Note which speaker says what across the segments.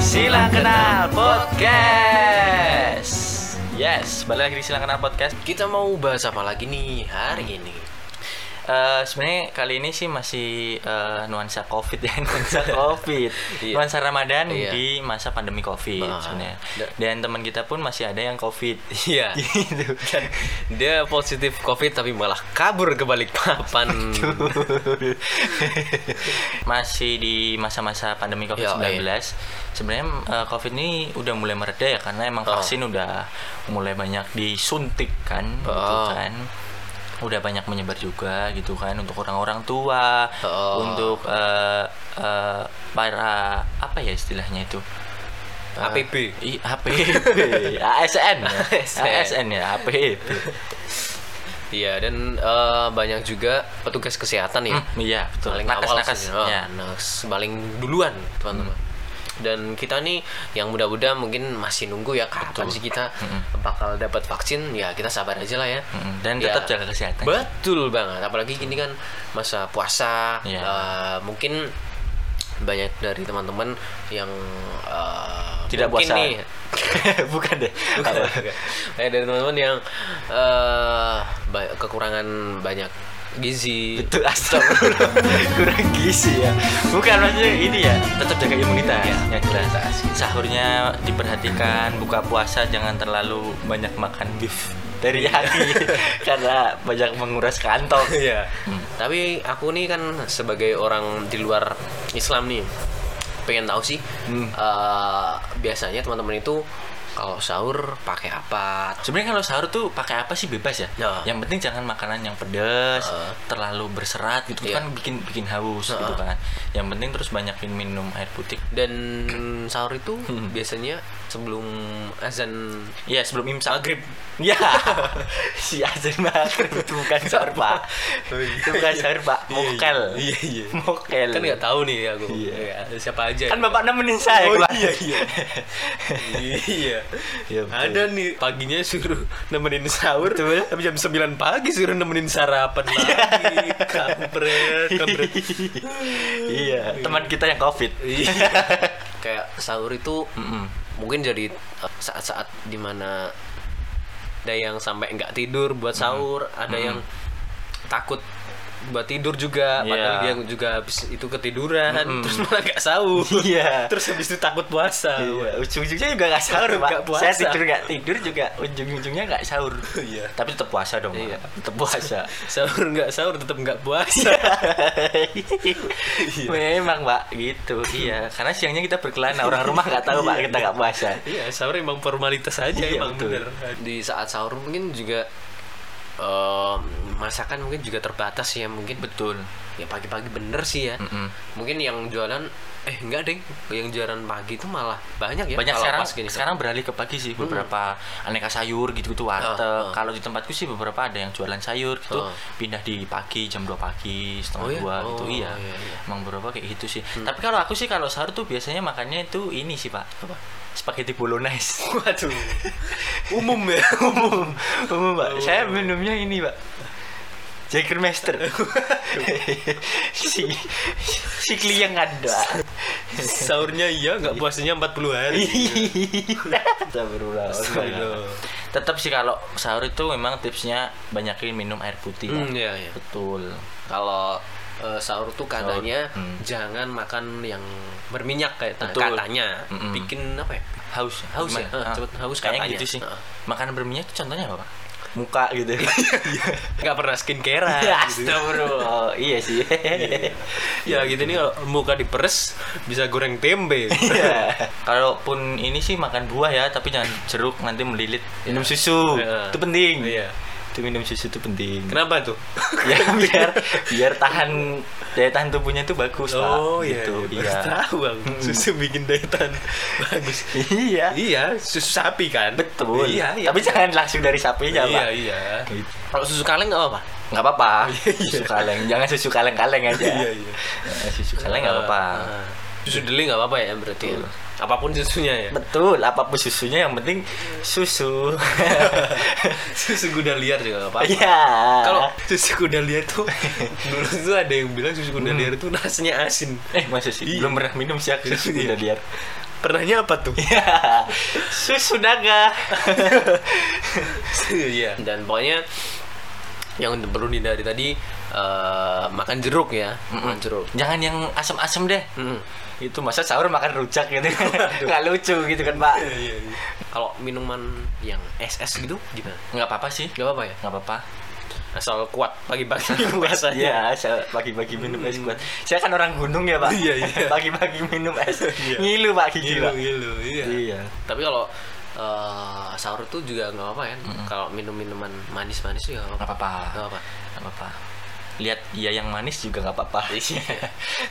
Speaker 1: Silang Kenal Podcast. Yes, balik lagi di Silang Kenal Podcast.
Speaker 2: Kita mau bahas apa lagi nih hari ini?
Speaker 1: Eh, Sebenarnya kali ini sih masih eh, nuansa COVID ya, nuansa COVID,
Speaker 2: Iya.
Speaker 1: nuansa Ramadan
Speaker 2: Iya.
Speaker 1: di masa pandemi COVID
Speaker 2: Ah.
Speaker 1: sebenarnya.
Speaker 2: Da-
Speaker 1: Dan teman kita pun masih ada yang COVID.
Speaker 2: Iya.
Speaker 1: Gitu.
Speaker 2: Dia positif COVID tapi malah kabur ke balik papan.
Speaker 1: masih di masa-masa pandemi COVID-19.
Speaker 2: Ya,
Speaker 1: Sebenarnya eh, COVID ini udah mulai mereda ya karena emang
Speaker 2: Oh.
Speaker 1: vaksin udah mulai banyak disuntik kan, gitu
Speaker 2: Oh.
Speaker 1: kan. Udah banyak menyebar juga gitu kan untuk orang-orang tua,
Speaker 2: Oh.
Speaker 1: untuk eh, eh, para apa ya istilahnya itu? Eh,
Speaker 2: APB.
Speaker 1: I, HPP, ASN, ya.
Speaker 2: ASN.
Speaker 1: ASN ya, HPP.
Speaker 2: Iya dan eh, banyak juga petugas kesehatan ya.
Speaker 1: Hmm, iya betul.
Speaker 2: Paling awal
Speaker 1: Nakes-nakes.
Speaker 2: sih. Oh,
Speaker 1: ya.
Speaker 2: nakes paling duluan teman-teman. Dan kita nih yang muda-muda mungkin masih nunggu ya kapan sih kita bakal dapat vaksin ya kita sabar aja lah ya.
Speaker 1: Mm-mm. Dan
Speaker 2: Ya.
Speaker 1: tetap jaga kesehatan.
Speaker 2: Betul banget, apalagi ini kan masa puasa,
Speaker 1: Iya.
Speaker 2: eh, mungkin banyak dari teman-teman yang eh,
Speaker 1: Tidak puasa.
Speaker 2: mungkin nih,
Speaker 1: Bukan deh.
Speaker 2: bukan,
Speaker 1: Apa?
Speaker 2: bukan. banyak dari teman-teman yang eh, ba- kekurangan banyak gizi,
Speaker 1: Itu astagfirullah kurang gizi ya. Bukan maksudnya ini ya, tetap jaga imunitas.
Speaker 2: Iya,
Speaker 1: yang jelas.
Speaker 2: imunitas.
Speaker 1: Sahurnya diperhatikan, buka puasa jangan terlalu banyak makan beef dari hati karena banyak menguras kantong.
Speaker 2: Iya. Tapi aku nih kan sebagai orang di luar Islam nih, pengen tahu sih
Speaker 1: Hmm.
Speaker 2: eh, biasanya teman-teman itu kalau sahur pakai apa?
Speaker 1: Sebenarnya kalau sahur tuh pakai apa sih bebas ya.
Speaker 2: Ya.
Speaker 1: Yang penting jangan makanan yang pedas,
Speaker 2: Heeh.
Speaker 1: terlalu berserat gitu
Speaker 2: Iya.
Speaker 1: kan bikin bikin haus gitu kan. Yang penting terus banyakin minum air putih.
Speaker 2: Dan sahur itu
Speaker 1: Hmm.
Speaker 2: biasanya sebelum azan
Speaker 1: Iya sebelum imsak maghrib. Ya si azan maghrib itu bukan sahur pak. Itu bukan sahur pak. Mokel.
Speaker 2: Oh, Iya, iya.
Speaker 1: Mokel.
Speaker 2: kan nggak tahu nih aku
Speaker 1: Iya.
Speaker 2: Iya, siapa aja
Speaker 1: Kan bapak nemenin saya
Speaker 2: Oh,
Speaker 1: keluar.
Speaker 2: iya, iya. iya
Speaker 1: Iya, betul.
Speaker 2: ada nih paginya suruh nemenin sahur tapi jam 9 pagi suruh nemenin sarapan lagi kampret kampret
Speaker 1: iya. Teman kita yang covid.
Speaker 2: Iya. kayak sahur itu
Speaker 1: Mm-mm.
Speaker 2: mungkin jadi uh, saat-saat dimana ada yang sampai nggak tidur
Speaker 1: Hmm.
Speaker 2: buat sahur ada yang takut buat tidur juga
Speaker 1: Iya. Hmm.
Speaker 2: padahal dia juga habis itu ketiduran terus malah nggak sahur
Speaker 1: Iya.
Speaker 2: terus habis itu takut puasa
Speaker 1: Iya, ujung-ujungnya juga nggak sahur pak.
Speaker 2: Nggak puasa.
Speaker 1: Saya tidur nggak tidur juga ujung-ujungnya nggak sahur.
Speaker 2: Iya.
Speaker 1: Tapi tetap puasa dong.
Speaker 2: Iya.
Speaker 1: Pak. Tetap puasa.
Speaker 2: sahur nggak sahur tetap nggak
Speaker 1: Iya.
Speaker 2: puasa
Speaker 1: Memang pak gitu. Iya. Karena siangnya kita berkelana. Orang rumah nggak tahu pak kita nggak puasa.
Speaker 2: Iya, sahur emang formalitas aja
Speaker 1: Iya,
Speaker 2: emang
Speaker 1: betul.
Speaker 2: bener. Di saat sahur mungkin juga em, masakan mungkin juga terbatas ya mungkin betul. Ya pagi-pagi bener sih ya.
Speaker 1: Mm-mm.
Speaker 2: Mungkin yang jualan eh enggak deh, yang jualan pagi itu malah banyak ya.
Speaker 1: banyak
Speaker 2: kalau
Speaker 1: sekarang
Speaker 2: pas gini. Hmm.
Speaker 1: sekarang beralih ke pagi sih beberapa aneka sayur gitu gitu warteg
Speaker 2: Ah, ah.
Speaker 1: kalau di tempatku sih beberapa ada yang jualan sayur gitu
Speaker 2: Ah.
Speaker 1: pindah di pagi jam 2 pagi setengah
Speaker 2: Oh, iya?
Speaker 1: dua gitu
Speaker 2: Oh,
Speaker 1: iya.
Speaker 2: iya, iya. Hmm.
Speaker 1: emang beberapa kayak gitu sih tapi kalau aku sih kalau sahur tuh biasanya makannya itu ini sih pak
Speaker 2: Apa?
Speaker 1: spaghetti bolognese
Speaker 2: waduh. Umum ya.
Speaker 1: umum umum pak
Speaker 2: Oh.
Speaker 1: saya minumnya ini pak Jager Master si si klien ada
Speaker 2: Sahurnya iya, nggak puasanya 40 hari.
Speaker 1: Astagfirullah.
Speaker 2: Astagfirullah.
Speaker 1: Tetap sih kalau sahur itu memang tipsnya banyakin minum air putih. Pak.
Speaker 2: Hmm, iya, iya.
Speaker 1: Betul.
Speaker 2: Kalau eh, sahur tuh katanya
Speaker 1: Hmm.
Speaker 2: jangan makan yang berminyak kayak
Speaker 1: Betul.
Speaker 2: katanya.
Speaker 1: Mm-mm.
Speaker 2: Bikin apa ya?
Speaker 1: Haus,
Speaker 2: Haus ya?
Speaker 1: Gimana?
Speaker 2: Ah,
Speaker 1: Ah,
Speaker 2: cepet haus
Speaker 1: Kayaknya
Speaker 2: katanya.
Speaker 1: gitu sih.
Speaker 2: Ah.
Speaker 1: Makanan berminyak itu contohnya apa, Pak? Muka gitu.
Speaker 2: nggak pernah skincarean
Speaker 1: Ya,
Speaker 2: gitu.
Speaker 1: Astagfirullah. Iya sih.
Speaker 2: ya gitu nih kalau muka diperes bisa goreng tempe
Speaker 1: Iya. Kalaupun ini sih makan buah ya, tapi jangan jeruk nanti melilit. Minum susu.
Speaker 2: Iya.
Speaker 1: Itu penting.
Speaker 2: Iya.
Speaker 1: Itu minum susu itu penting.
Speaker 2: kenapa tuh
Speaker 1: ya biar biar tahan daya tahan tubuhnya itu bagus pak
Speaker 2: oh iya
Speaker 1: gitu,
Speaker 2: iya, baru tahu aku. susu bikin daya tahan bagus
Speaker 1: iya
Speaker 2: iya susu sapi kan
Speaker 1: betul
Speaker 2: iya iya
Speaker 1: tapi jangan langsung dari sapinya
Speaker 2: iya
Speaker 1: pak
Speaker 2: iya
Speaker 1: Gitu.
Speaker 2: kalau susu kaleng nggak apa
Speaker 1: nggak apa-apa susu kaleng jangan susu kaleng-kaleng aja
Speaker 2: Iya, Ah. iya.
Speaker 1: Eh, susu kaleng nggak apa-apa
Speaker 2: susu deli nggak apa-apa ya berarti ya?
Speaker 1: Betul.
Speaker 2: apapun susunya ya
Speaker 1: betul apapun susunya yang penting susu
Speaker 2: susu kuda liar juga nggak apa-apa
Speaker 1: iya
Speaker 2: kalau susu kuda liar tuh dulu tuh Hmm. ada yang bilang susu kuda liar tuh rasanya asin
Speaker 1: eh masa sih belum pernah minum sih aku susu
Speaker 2: Iya.
Speaker 1: udah lihat
Speaker 3: Pernahnya apa tuh?
Speaker 1: Ya, susu naga.
Speaker 3: Iya.
Speaker 2: dan pokoknya yang perlu dihindari tadi eh, makan jeruk ya makan jeruk
Speaker 1: Jangan yang asem-asem deh.
Speaker 2: Mm.
Speaker 1: Itu masa sahur makan rujak gitu. Nggak lucu gitu kan, Pak.
Speaker 2: kalau minuman yang SS gitu gimana
Speaker 1: Nggak apa-apa sih.
Speaker 2: nggak apa-apa ya
Speaker 1: Nggak apa-apa.
Speaker 2: asal kuat pagi-pagi puasanya
Speaker 1: Iya, saya pagi-pagi minum es kuat. Saya kan orang gunung ya, Pak.
Speaker 3: Iya, iya.
Speaker 1: Pagi-pagi minum es.
Speaker 3: Iya.
Speaker 1: Ngilu, Pak, gigi,
Speaker 3: Gila,
Speaker 1: Pak.
Speaker 3: gila, iya.
Speaker 1: Iya.
Speaker 2: tapi kalau eh, sahur tuh juga nggak apa-apa ya kalau minum minuman manis-manis juga nggak
Speaker 1: Nggak
Speaker 2: apa-apa
Speaker 1: apa-apa.
Speaker 2: nggak apa
Speaker 1: Nggak apa-apa. Lihat dia yang manis juga nggak apa-apa.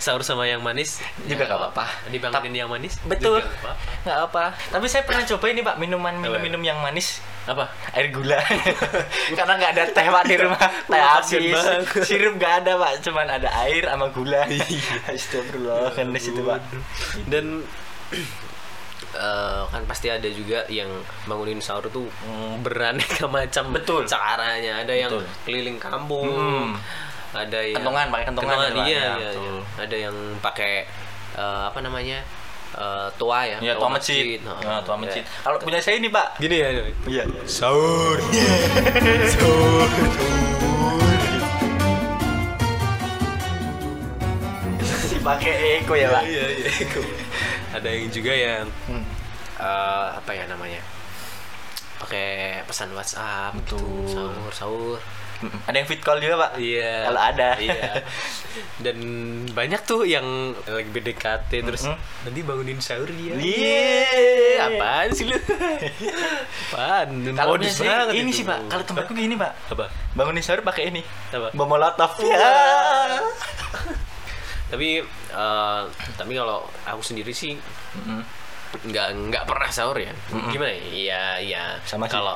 Speaker 2: sahur sama yang manis
Speaker 1: Juga nggak apa-apa.
Speaker 2: dibangunin yang manis
Speaker 1: Betul.
Speaker 2: juga nggak apa-apa.
Speaker 1: Nggak apa. Tapi saya pernah coba ini, Pak, minuman minum-minum yang manis
Speaker 2: apa
Speaker 1: air gula karena nggak ada teh pak di rumah teh
Speaker 3: Wah,
Speaker 1: habis
Speaker 3: kasian banget.
Speaker 1: sirup nggak ada pak cuman ada air sama gula Iya, Astagfirullah kan di situ pak
Speaker 2: dan eh, kan pasti ada juga yang bangunin sahur tuh mm, beraneka macam betul caranya ada yang
Speaker 1: Betul.
Speaker 2: keliling kampung
Speaker 1: Mm.
Speaker 2: ada yang
Speaker 1: Kentongan, pakai kentongan ya, Pak.
Speaker 2: iya,
Speaker 1: Ya,
Speaker 2: iya,
Speaker 1: betul.
Speaker 2: iya. ada yang pakai eh, apa namanya eh, toa ya Iya.
Speaker 1: ya tua masjid
Speaker 2: Heeh.
Speaker 1: nah, tua
Speaker 2: Kayak-
Speaker 1: masjid kalau punya saya ini pak
Speaker 3: Gini ya.
Speaker 1: iya
Speaker 3: Sahur.
Speaker 1: si pakai eko ya pak
Speaker 3: Iya, iya.
Speaker 2: ada yang juga yang
Speaker 1: Hmm.
Speaker 2: eh, apa ya namanya pakai pesan WhatsApp gitu,
Speaker 1: Betul.
Speaker 2: sahur sahur
Speaker 1: Mm-mm. Hmm. ada yang fit call juga pak
Speaker 2: Iya.
Speaker 1: Kalau ada.
Speaker 2: Iya. Dan banyak tuh yang lagi BDKT terus
Speaker 1: Mm-mm.
Speaker 2: nanti bangunin sahur ya.
Speaker 1: Iya.
Speaker 2: Apaan sih lu? Apaan?
Speaker 1: kalau
Speaker 2: Modus
Speaker 1: punya saya
Speaker 2: banget
Speaker 1: ini
Speaker 2: itu.
Speaker 1: sih pak kalau tempatku gini pak
Speaker 2: apa?
Speaker 1: bangunin sahur pakai ini
Speaker 2: Apa?
Speaker 1: bom molotov ya
Speaker 2: Tapi eh, tapi kalau aku sendiri sih
Speaker 1: Mm-mm.
Speaker 2: nggak nggak pernah sahur ya. Gimana ya? Iya, iya.
Speaker 1: Sama sih.
Speaker 2: kalau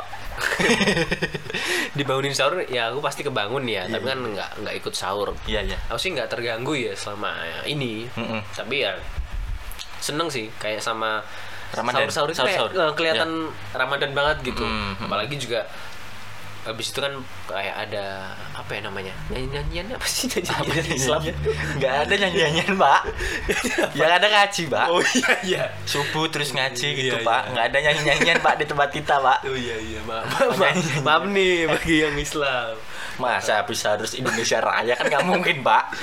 Speaker 2: dibangunin sahur ya aku pasti kebangun ya, tapi kan nggak nggak ikut sahur.
Speaker 1: iya iya Hmm,
Speaker 2: aku sih nggak terganggu ya selama ini
Speaker 1: Mm-mm.
Speaker 2: tapi ya seneng sih kayak sama
Speaker 1: Ramadan.
Speaker 2: sahur itu kayak,
Speaker 1: Sahur-sahur. Iya. Mm-hmm.
Speaker 2: eh, kelihatan Ramadan banget gitu
Speaker 1: Mm-mm.
Speaker 2: apalagi juga habis itu kan kayak ada apa ya namanya nyanyi nyanyian apa sih nyanyian Islam
Speaker 1: Iya, nggak ada nyanyian pak yang ada ngaji pak
Speaker 3: Oh iya, iya.
Speaker 1: subuh terus ngaji gitu
Speaker 3: Iya,
Speaker 1: pak
Speaker 3: iya.
Speaker 1: nggak ada nyanyi nyanyian pak di tempat kita pak
Speaker 3: Oh iya, iya. Maaf.
Speaker 2: maaf, maaf nih bagi yang Islam
Speaker 1: masa habis harus Indonesia Raya kan nggak mungkin pak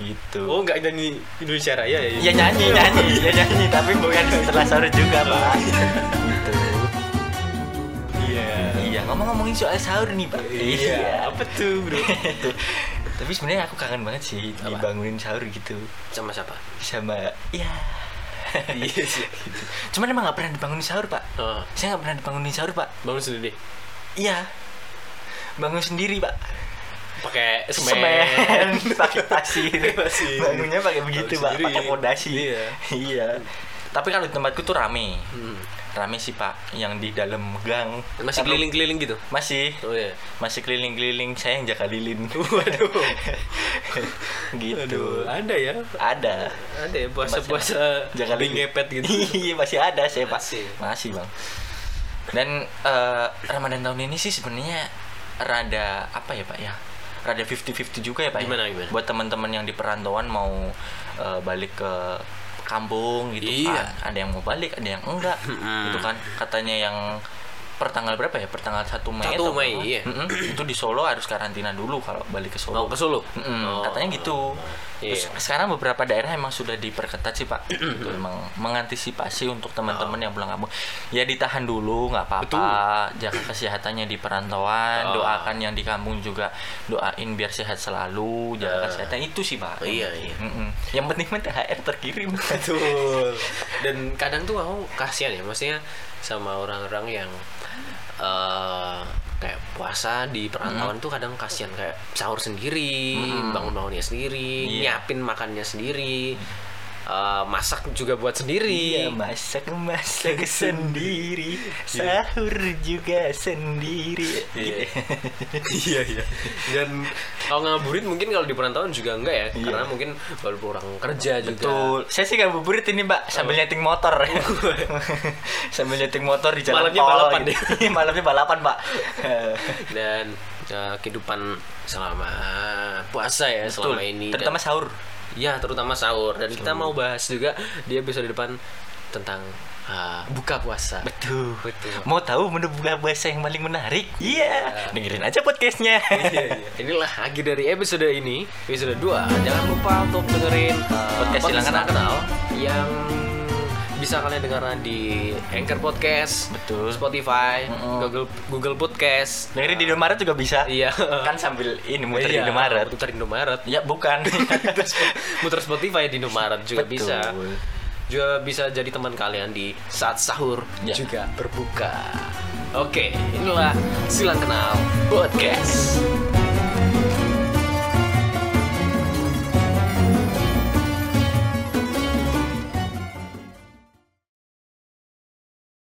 Speaker 1: gitu
Speaker 2: oh nggak nyanyi Indonesia Raya ya
Speaker 1: ya nyanyi nyanyi ya nyanyi tapi bukan setelah sore juga pak gitu
Speaker 3: Iya.
Speaker 1: iya ngomong-ngomongin soal sahur nih pak
Speaker 3: Iya. Apa tuh, Bro?
Speaker 1: tapi sebenarnya aku kangen banget sih dibangunin sahur gitu
Speaker 2: sama siapa
Speaker 1: sama ya iya sih gitu. cuman emang nggak pernah dibangunin sahur pak
Speaker 2: Eh,
Speaker 1: saya nggak pernah dibangunin sahur pak
Speaker 2: bangun sendiri
Speaker 1: Iya. Bangun sendiri, Pak.
Speaker 2: pakai semen,
Speaker 1: Semen, pakai pasir.
Speaker 3: Pasir.
Speaker 1: Bangunnya pakai begitu, Pak,
Speaker 3: sendiri.
Speaker 1: pakai pondasi.
Speaker 3: Iya.
Speaker 1: Iya. Tapi kalau di tempatku tuh rame.
Speaker 2: Hmm.
Speaker 1: Rame sih, Pak, yang di dalam gang.
Speaker 2: masih
Speaker 1: Tapi-
Speaker 2: keliling-keliling gitu
Speaker 1: Masih.
Speaker 2: oh iya
Speaker 1: Masih keliling-keliling, saya yang jaga lilin.
Speaker 2: Waduh.
Speaker 1: gitu.
Speaker 2: Aduh, ada ya.
Speaker 1: Ada.
Speaker 2: Ada ya puasa-puasa
Speaker 1: Jaga
Speaker 2: di
Speaker 1: lilin.
Speaker 2: ngepet gitu.
Speaker 1: Iya, masih ada saya, Pak.
Speaker 2: Masih.
Speaker 1: Masih, Bang. Dan eh, Ramadan tahun ini sih sebenarnya rada apa ya, Pak ya? Rada 50-50 juga ya, Pak. ya?
Speaker 2: Gimana, gimana?
Speaker 1: Buat teman-teman yang di perantauan mau eh, balik ke kampung gitu
Speaker 2: Iya.
Speaker 1: kan.
Speaker 2: Ah.
Speaker 1: Ada yang mau balik, ada yang enggak.
Speaker 2: Mm-mm.
Speaker 1: gitu kan. Katanya yang pertanggal berapa ya? Pertanggal 1 Mei.
Speaker 2: 1
Speaker 1: atau
Speaker 2: Mei,
Speaker 1: apa?
Speaker 2: iya.
Speaker 1: Mm-mm. Itu di Solo harus karantina dulu kalau balik ke Solo.
Speaker 2: Mau ke Solo?
Speaker 1: Mm-mm,
Speaker 2: Oh.
Speaker 1: katanya gitu. Terus
Speaker 2: Iya.
Speaker 1: sekarang beberapa daerah emang sudah diperketat sih pak, Itu emang mengantisipasi untuk teman-teman
Speaker 2: Oh.
Speaker 1: yang pulang kampung. Ya ditahan dulu, nggak apa-apa. Jaga kesehatannya di perantauan.
Speaker 2: Oh.
Speaker 1: Doakan yang di kampung juga doain biar sehat selalu. Jaga kesehatan itu sih pak.
Speaker 2: Eh. Oh, iya, iya.
Speaker 1: Mm-mm. Yang penting kan mah THR terkirim.
Speaker 2: Betul. Dan kadang tuh aku kasihan ya, maksudnya sama orang-orang yang eh kayak puasa di perantauan tuh kadang kasihan kayak sahur sendiri, bangun-bangunnya sendiri,
Speaker 1: Iya.
Speaker 2: nyiapin makannya sendiri. eh, masak juga buat sendiri.
Speaker 1: Iya masak masak sendiri, sahur juga sendiri.
Speaker 2: Iya.
Speaker 3: Iya, iya.
Speaker 2: dan kalau ngaburit mungkin kalau di perantauan juga enggak ya
Speaker 1: Iya.
Speaker 2: karena mungkin baru pulang kerja juga
Speaker 1: Betul.
Speaker 2: Oh.
Speaker 1: Saya sih ngabuburit ini, Mbak, sambil nyeting motor. sambil nyeting motor di jalan
Speaker 2: Malamnya
Speaker 1: tol
Speaker 2: balapan
Speaker 1: gitu. Iya, Malamnya balapan, Pak.
Speaker 2: dan uh, kehidupan eh, selama puasa ya selama ini
Speaker 1: Terutama
Speaker 2: dan-
Speaker 1: sahur.
Speaker 2: ya terutama sahur dan kita mau bahas juga di episode depan tentang ah, buka puasa
Speaker 1: Betul.
Speaker 2: Betul.
Speaker 1: Mau tahu menu buka puasa yang paling menarik? Iya. Dengerin aja podcastnya.
Speaker 3: Iya, iya.
Speaker 2: Inilah akhir dari episode ini, episode 2. Jangan lupa untuk dengerin uh,
Speaker 1: Podcast Silangan Natal.
Speaker 2: yang bisa kalian dengarkan di Anchor Podcast,
Speaker 1: Betul.
Speaker 2: Spotify,
Speaker 1: Mm-mm. Iya.
Speaker 2: Google Google Podcast.
Speaker 1: Dengerin di Indomaret juga bisa.
Speaker 2: Iya.
Speaker 1: Kan sambil ini muter
Speaker 2: Iya,
Speaker 1: di Indomaret.
Speaker 2: Muter Indomaret.
Speaker 1: Ya bukan.
Speaker 2: Muter Spotify di Indomaret juga
Speaker 1: Betul.
Speaker 2: bisa. Juga bisa jadi teman kalian di saat sahur
Speaker 1: Ya.
Speaker 2: juga berbuka. Oke, inilah Silang Kenal Podcast.